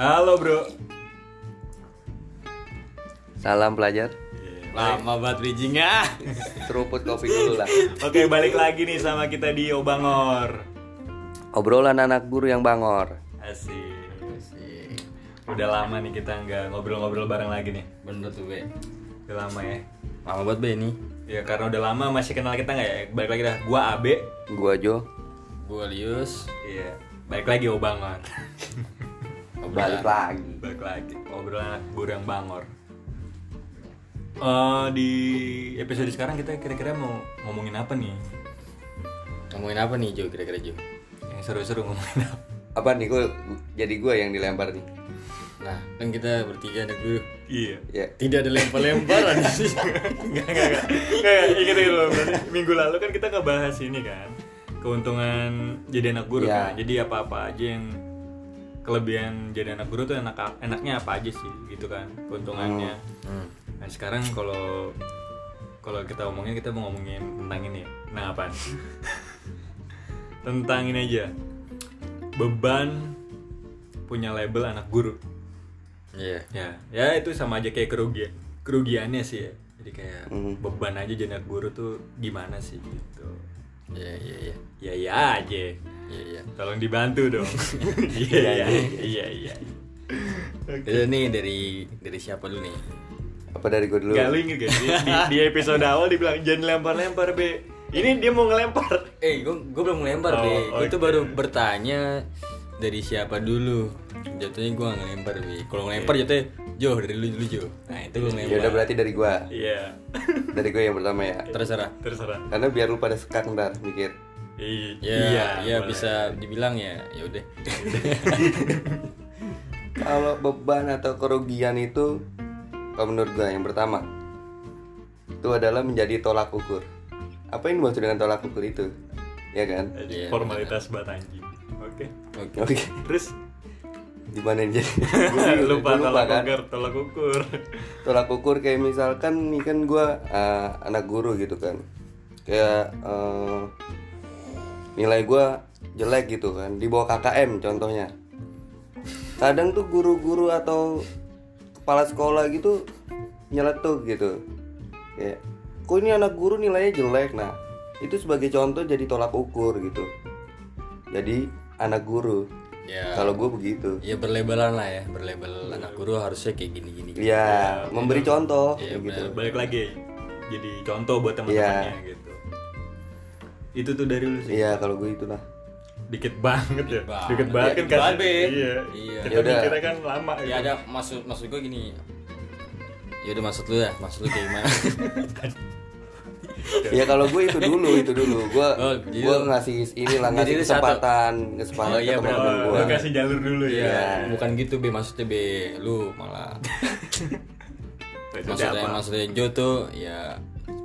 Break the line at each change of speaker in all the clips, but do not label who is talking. Halo bro.
Salam pelajar.
Lama banget bridgingnya.
Seruput kopi dulu lah.
ya. Oke balik lagi nih sama kita di Obangor.
Obrolan anak guru yang bangor.
Asik. Udah lama nih kita nggak ngobrol-ngobrol bareng lagi nih.
Bener tuh be.
Udah lama ya.
Lama banget be ini.
Ya karena udah lama masih kenal kita nggak ya. Balik lagi dah. Gua Abe.
Gua Jo.
Gue Lius.
Iya. Balik lagi Obangor.
Balik lagi.
balik lagi obrolan anak burang bangor. Eh, di episode sekarang kita kira-kira mau ngomongin apa nih?
Ngomongin apa nih Jo kira-kira Jo?
Yang seru-seru ngomongin apa?
Apa nih gua jadi gua yang dilempar nih.
Nah kan kita bertiga anak dulu.
Iya.
Ya.
Tidak ada lempar-lemparan sih.
Enggak, enggak, enggak. Enggak, enggak. Ingat itu loh. Berarti Minggu lalu kan kita ngebahas ini kan. Keuntungan jadi anak guru
Iya.
kan. Jadi apa-apa aja yang kelebihan jadi anak guru tuh enak enaknya apa aja sih gitu kan keuntungannya. Nah, sekarang kalau kalau kita ngomongin kita mau ngomongin tentang ini. ya. Nah, apaan? tentang ini aja. Beban punya label anak guru.
Iya.
Ya, ya itu sama aja kayak kerugian kerugiannya sih ya. Jadi kayak beban aja jadi anak guru tuh gimana sih gitu.
Iya iya iya.
Ya ya aja.
Iya iya.
Tolong dibantu dong. Iya iya iya iya.
Jadi nih dari dari siapa dulu nih?
Apa dari gua dulu?
Gak lu inget gak? Di, di- di episode awal dibilang jangan lempar-lempar be. Ini dia mau ngelempar.
Eh gue gue belum
Oh,
ngelempar be. Gue
oke.
tuh baru bertanya dari siapa dulu. Jatuhnya gue ngelempar be. Kalau ngelempar jatuhnya Jo dari lu dulu Jo. Nah itu gue
Ya udah
ngelempar.
berarti dari gua.
Iya.
Dari gua yang pertama ya.
Terserah.
Terserah.
Karena biar lu pada sekak ntar mikir.
I-
Ya,
iya.
ya
boleh.
bisa dibilang ya, ya udah.
Kalau beban atau kerugian itu kalau menurut gua yang pertama itu adalah menjadi tolak ukur. Apa yang dimaksud dengan tolak ukur itu? Ya kan?
Eh,
Iya,
Formalitas batanji. Oke.
Oke.
Oke.
Terus
Gimana yang jadi?
lupa
Gua
tolak
kan?
ukur, tolak ukur.
tolak ukur kayak misalkan nih kan gue anak guru gitu kan kayak eh, nilai gue jelek gitu kan di bawah KKM contohnya kadang tuh guru-guru atau kepala sekolah gitu nyeletuk gitu kayak kok ini anak guru nilainya jelek nah itu sebagai contoh jadi tolak ukur gitu jadi anak guru
Ya.
kalau gue begitu
Ya berlebelan lah ya, berlabel anak guru harusnya kayak gini-gini.
ya, memberi contoh kayak gitu
balik lagi jadi contoh buat teman-temannya gitu itu tuh dari lu sih
Iya kalau gue itulah
dikit banget ya
banget.
dikit banget kan
Dikit banget,
kasih-
Be.
iya
Iya.
kita
Yaudah.
mikirnya kan lama
Ya ada maksud maksud gue gini. Ya udah maksud lu ya, maksud lu kayak gimana?
Ya kalau gue itu dulu itu dulu gue
Oh, jadi
gue
lu-
ngasih inilah ngasih
Jadi lu satu.
kesempatan kesempatan
Oh, iya,
ke teman-teman
Oh,
gue.
lu kasih jalur dulu ya
ya, bukan gitu B maksudnya B, lu malah
Itu
maksudnya
apa?
maksudnya Jo tuh ya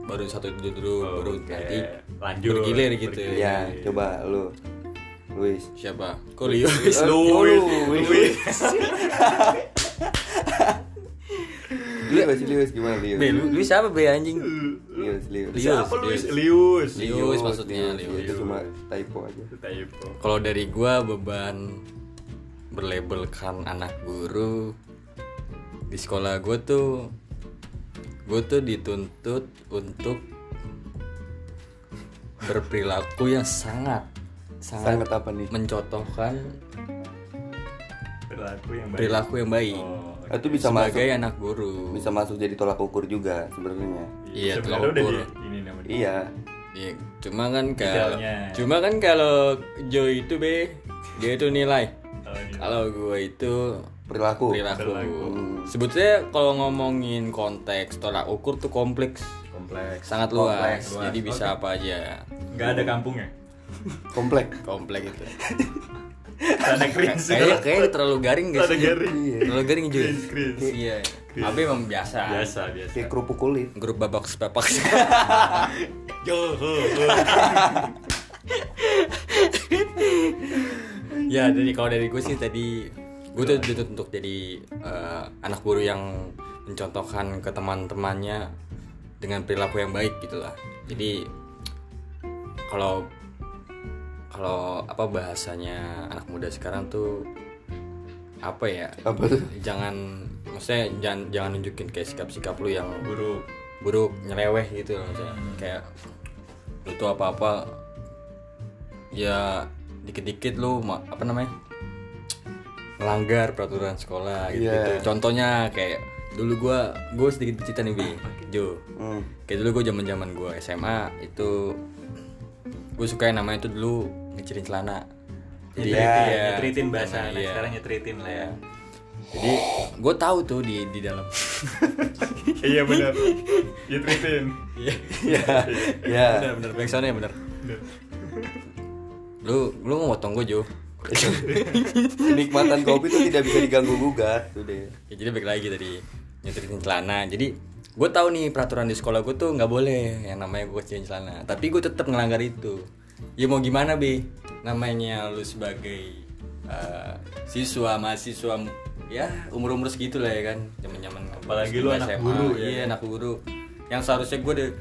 baru satu dulu dulu
Oh,
baru
oke.
nanti
Lanjut,
bergilir gitu.
bergilir.
Ya coba lu Luis.
Siapa? Kok Leo?
Luis,
Eh,
Luis,
Luis.
Luis.
Luis Luis gimana Luis?
B, lu, lu siapa B anjing?
Luis Luis.
Lius,
Siapa Luis?
Lius.
Lius.
Lius maksudnya
Lius,
Lius.
Itu cuma typo aja.
Typo.
Kalau dari gua beban berlabelkan anak guru di sekolah gua tuh gua tuh dituntut untuk berperilaku yang sangat sangat
Sangat apa nih?
mencontohkan
Perilaku yang baik.
perilaku yang baik
Oh,
Nah, Itu bisa
sebagai
masuk
anak guru.
bisa masuk jadi tolak ukur juga sebenarnya.
Iya,
Sebenarnya
tolak
udah
ukur.
di- ini namanya.
Iya.
Iya, cuma kan kalau
Idealnya.
cuma kan kalau Jo itu be dia itu nilai.
Oh, iya.
Kalau gua itu
Perilaku.
perilaku. Sebetulnya kalau ngomongin konteks tolak ukur tuh kompleks,
Kompleks.
sangat luas.
Kompleks,
luas.
Jadi bisa apa aja.
Enggak ada kampungnya.
Komplek.
Kompleks itu.
Nggak ada cringe.
Kayaknya kayaknya terlalu garing guys.
Ada garing.
Terlalu garing juga.
Cringe, cringe.
Iya. Abi memang biasa.
Biasa, biasa.
Kayak kerupuk kulit.
Grup babak sepapak.
Yo, ho, ho.
ya jadi kalau dari gue sih tadi gue tuh dituntut untuk jadi eh, anak guru yang mencontohkan ke teman-temannya dengan perilaku yang baik gitulah jadi kalau kalau apa bahasanya anak muda sekarang tuh apa ya
apa tuh
jangan maksudnya jangan jangan nunjukin kayak sikap-sikap lu yang
buruk
buruk nyeleweh gitu loh maksudnya kayak lu tuh apa-apa ya dikit-dikit lu ma- apa namanya melanggar peraturan sekolah gitu,
Iya.
contohnya kayak dulu gua gua sedikit bercerita nih bi Jo
Hmm.
kayak dulu gua zaman zaman gua SMA itu gue suka yang namanya itu dulu ngecirin celana Jadi,
nyetritin,
iya,
nyetritin bahasa
celana,
anak
iya.
sekarang nyetritin lah ya
jadi gue tahu tuh di di dalam
iya benar nyetritin
Iya.
ya ya
bener bener back soundnya bener lu lu mau motong gue Jo
nikmatan kopi itu tidak bisa diganggu gugat tuh deh
ya, jadi baik lagi tadi nyetritin celana jadi gue tahu nih peraturan di sekolah gue tuh nggak boleh yang namanya gue kecilin celana tapi gue tetap ngelanggar itu ya mau gimana bi namanya lu sebagai eh, siswa mahasiswa ya umur umur segitu lah ya kan zaman zaman
Apalagi lu anak guru, ya
iya
kan?
anak guru yang seharusnya gue de-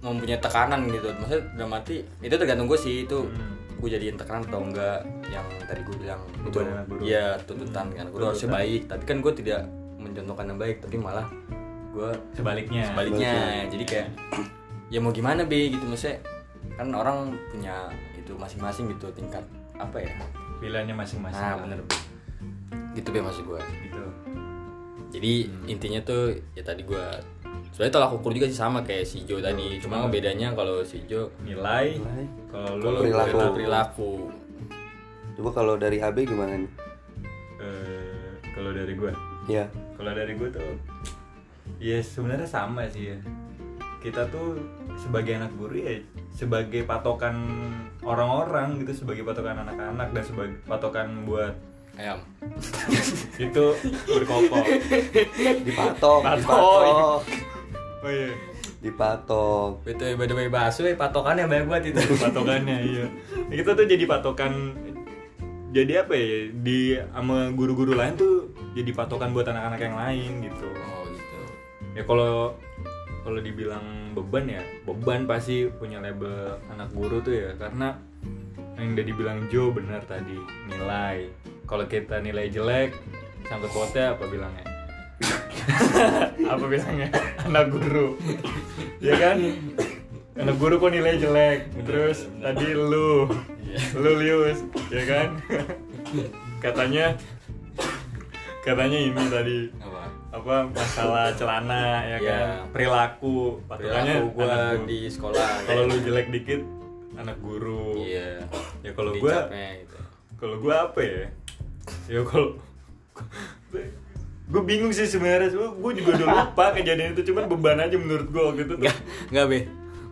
mempunyai tekanan gitu maksudnya udah mati itu tergantung gue sih itu
Hmm.
gue jadiin tekanan atau enggak yang tadi gue bilang itu
Beban anak guru.
iya tuntutan kan gue harusnya baik tapi kan gue tidak mencontohkan yang baik tapi malah gue
sebaliknya
sebaliknya jadi kayak ya mau gimana be gitu maksudnya kan orang punya itu masing-masing gitu tingkat apa ya
pilihannya masing-masing
nah
lah.
bener Be. gitu be maksud gue
gitu
jadi
Hmm.
intinya tuh ya tadi gue sebenarnya tolak ukur juga sih sama kayak si Jo tadi cuma bedanya kalau si Jo
nilai kalau lu
Kalau perilaku.
kenal
perilaku
coba kalau dari AB gimana nih
eh, kalau dari gua
ya
kalau dari gue tuh ya sebenarnya sama sih ya kita tuh sebagai anak guru ya sebagai patokan orang-orang gitu sebagai patokan anak-anak dan sebagai patokan buat
ayam
itu berkokok
dipatok
Patok.
dipatok
oh iya
dipatok
Betul, by the way bakso eh, patokannya banyak banget itu.
patokannya iya kita tuh jadi patokan jadi apa ya di sama guru-guru lain tuh jadi patokan buat anak-anak yang lain gitu
Oh gitu.
ya kalau kalau dibilang beban ya beban pasti punya label anak guru tuh ya karena yang udah dibilang Jo benar tadi nilai kalau kita nilai jelek sangkut pautnya apa bilangnya apa bilangnya anak guru ya kan anak guru kok nilai jelek terus tadi lu lu lius ya kan katanya katanya ini tadi
Apa?
apa masalah celana ya
Iya.
kan perilaku patokannya
Perilaku gua
anak guru.
di sekolah.
kalau lu jelek dikit anak guru
Iya.
ya kalau
Di
gua
capnya gitu.
kalau gua apa ya ya kalau gue bingung sih sebenarnya gue juga udah lupa kejadian itu cuman beban aja menurut gue waktu itu tuh.
Enggak, enggak be.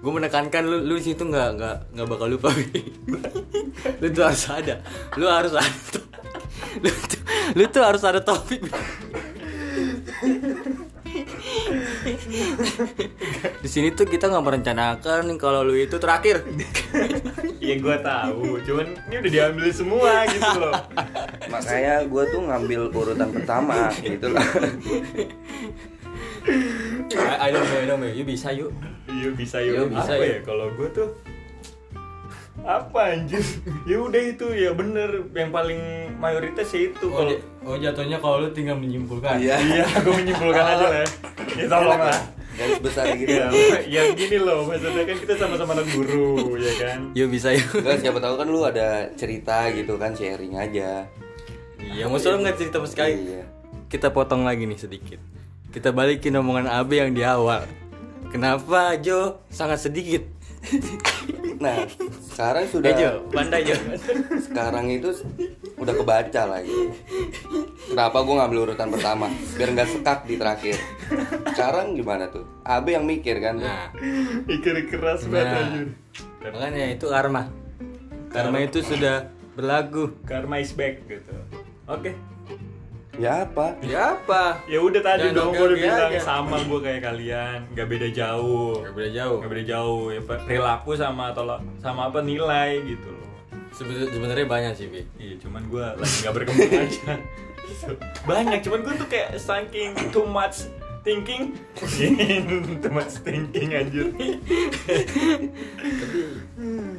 Gue menekankan lu lu di situ enggak enggak enggak bakal lupa be. lu tuh harus ada. Lu harus ada. to- Lu tuh, lu tuh harus ada topik. Be. di sini tuh kita nggak merencanakan kalau lu itu terakhir.
ya gue tahu cuman ini udah diambil semua gitu loh
makanya gue tuh ngambil urutan pertama gitu lah
I, I don't know, I don't know. You bisa yuk.
Iya bisa
Iya,
yuk.
bisa,
apa
yuk.
ya kalau gue tuh apa anjir? ya udah itu ya bener yang paling mayoritas ya itu kalau
oh jatuhnya kalau lu tinggal menyimpulkan.
iya gue menyimpulkan aja lah ya. ya tolong lah
garis besar gitu
ya, ya gini loh maksudnya kan kita sama-sama anak guru ya kan
Yo bisa yuk.
Enggak, siapa tahu kan lu ada cerita gitu kan sharing aja
Iya, maksud lu nggak cerita sama sekali.
iya
Kita potong lagi nih sedikit. Kita balikin omongan Abe yang di awal. Kenapa Jo sangat sedikit?
nah sekarang
Eh
sudah
Jo, pandai Jo.
sekarang itu udah kebaca lah gitu. Kenapa gue ngambil urutan pertama biar nggak sekak di terakhir. Sekarang gimana tuh? Abe yang mikir kan.
Nah,
ikir keras banget
Nah.
anjir
makanya itu karma. Karma itu sudah berlaku.
karma is back gitu oke
Ya apa?
Ya apa?
ya udah tadi
Jangan
dong gue udah
ganti
bilang
aja.
sama gue kayak kalian nggak beda jauh
Gak beda jauh.
nggak beda jauh ya perilaku sama tolak sama apa nilai gitu loh
Sebe- Sebenarnya banyak sih, Bi.
Iya, cuman gue lagi gak berkembang aja. Banyak, cuman gue tuh kayak saking too much thinking. too much thinking anjir.
Tapi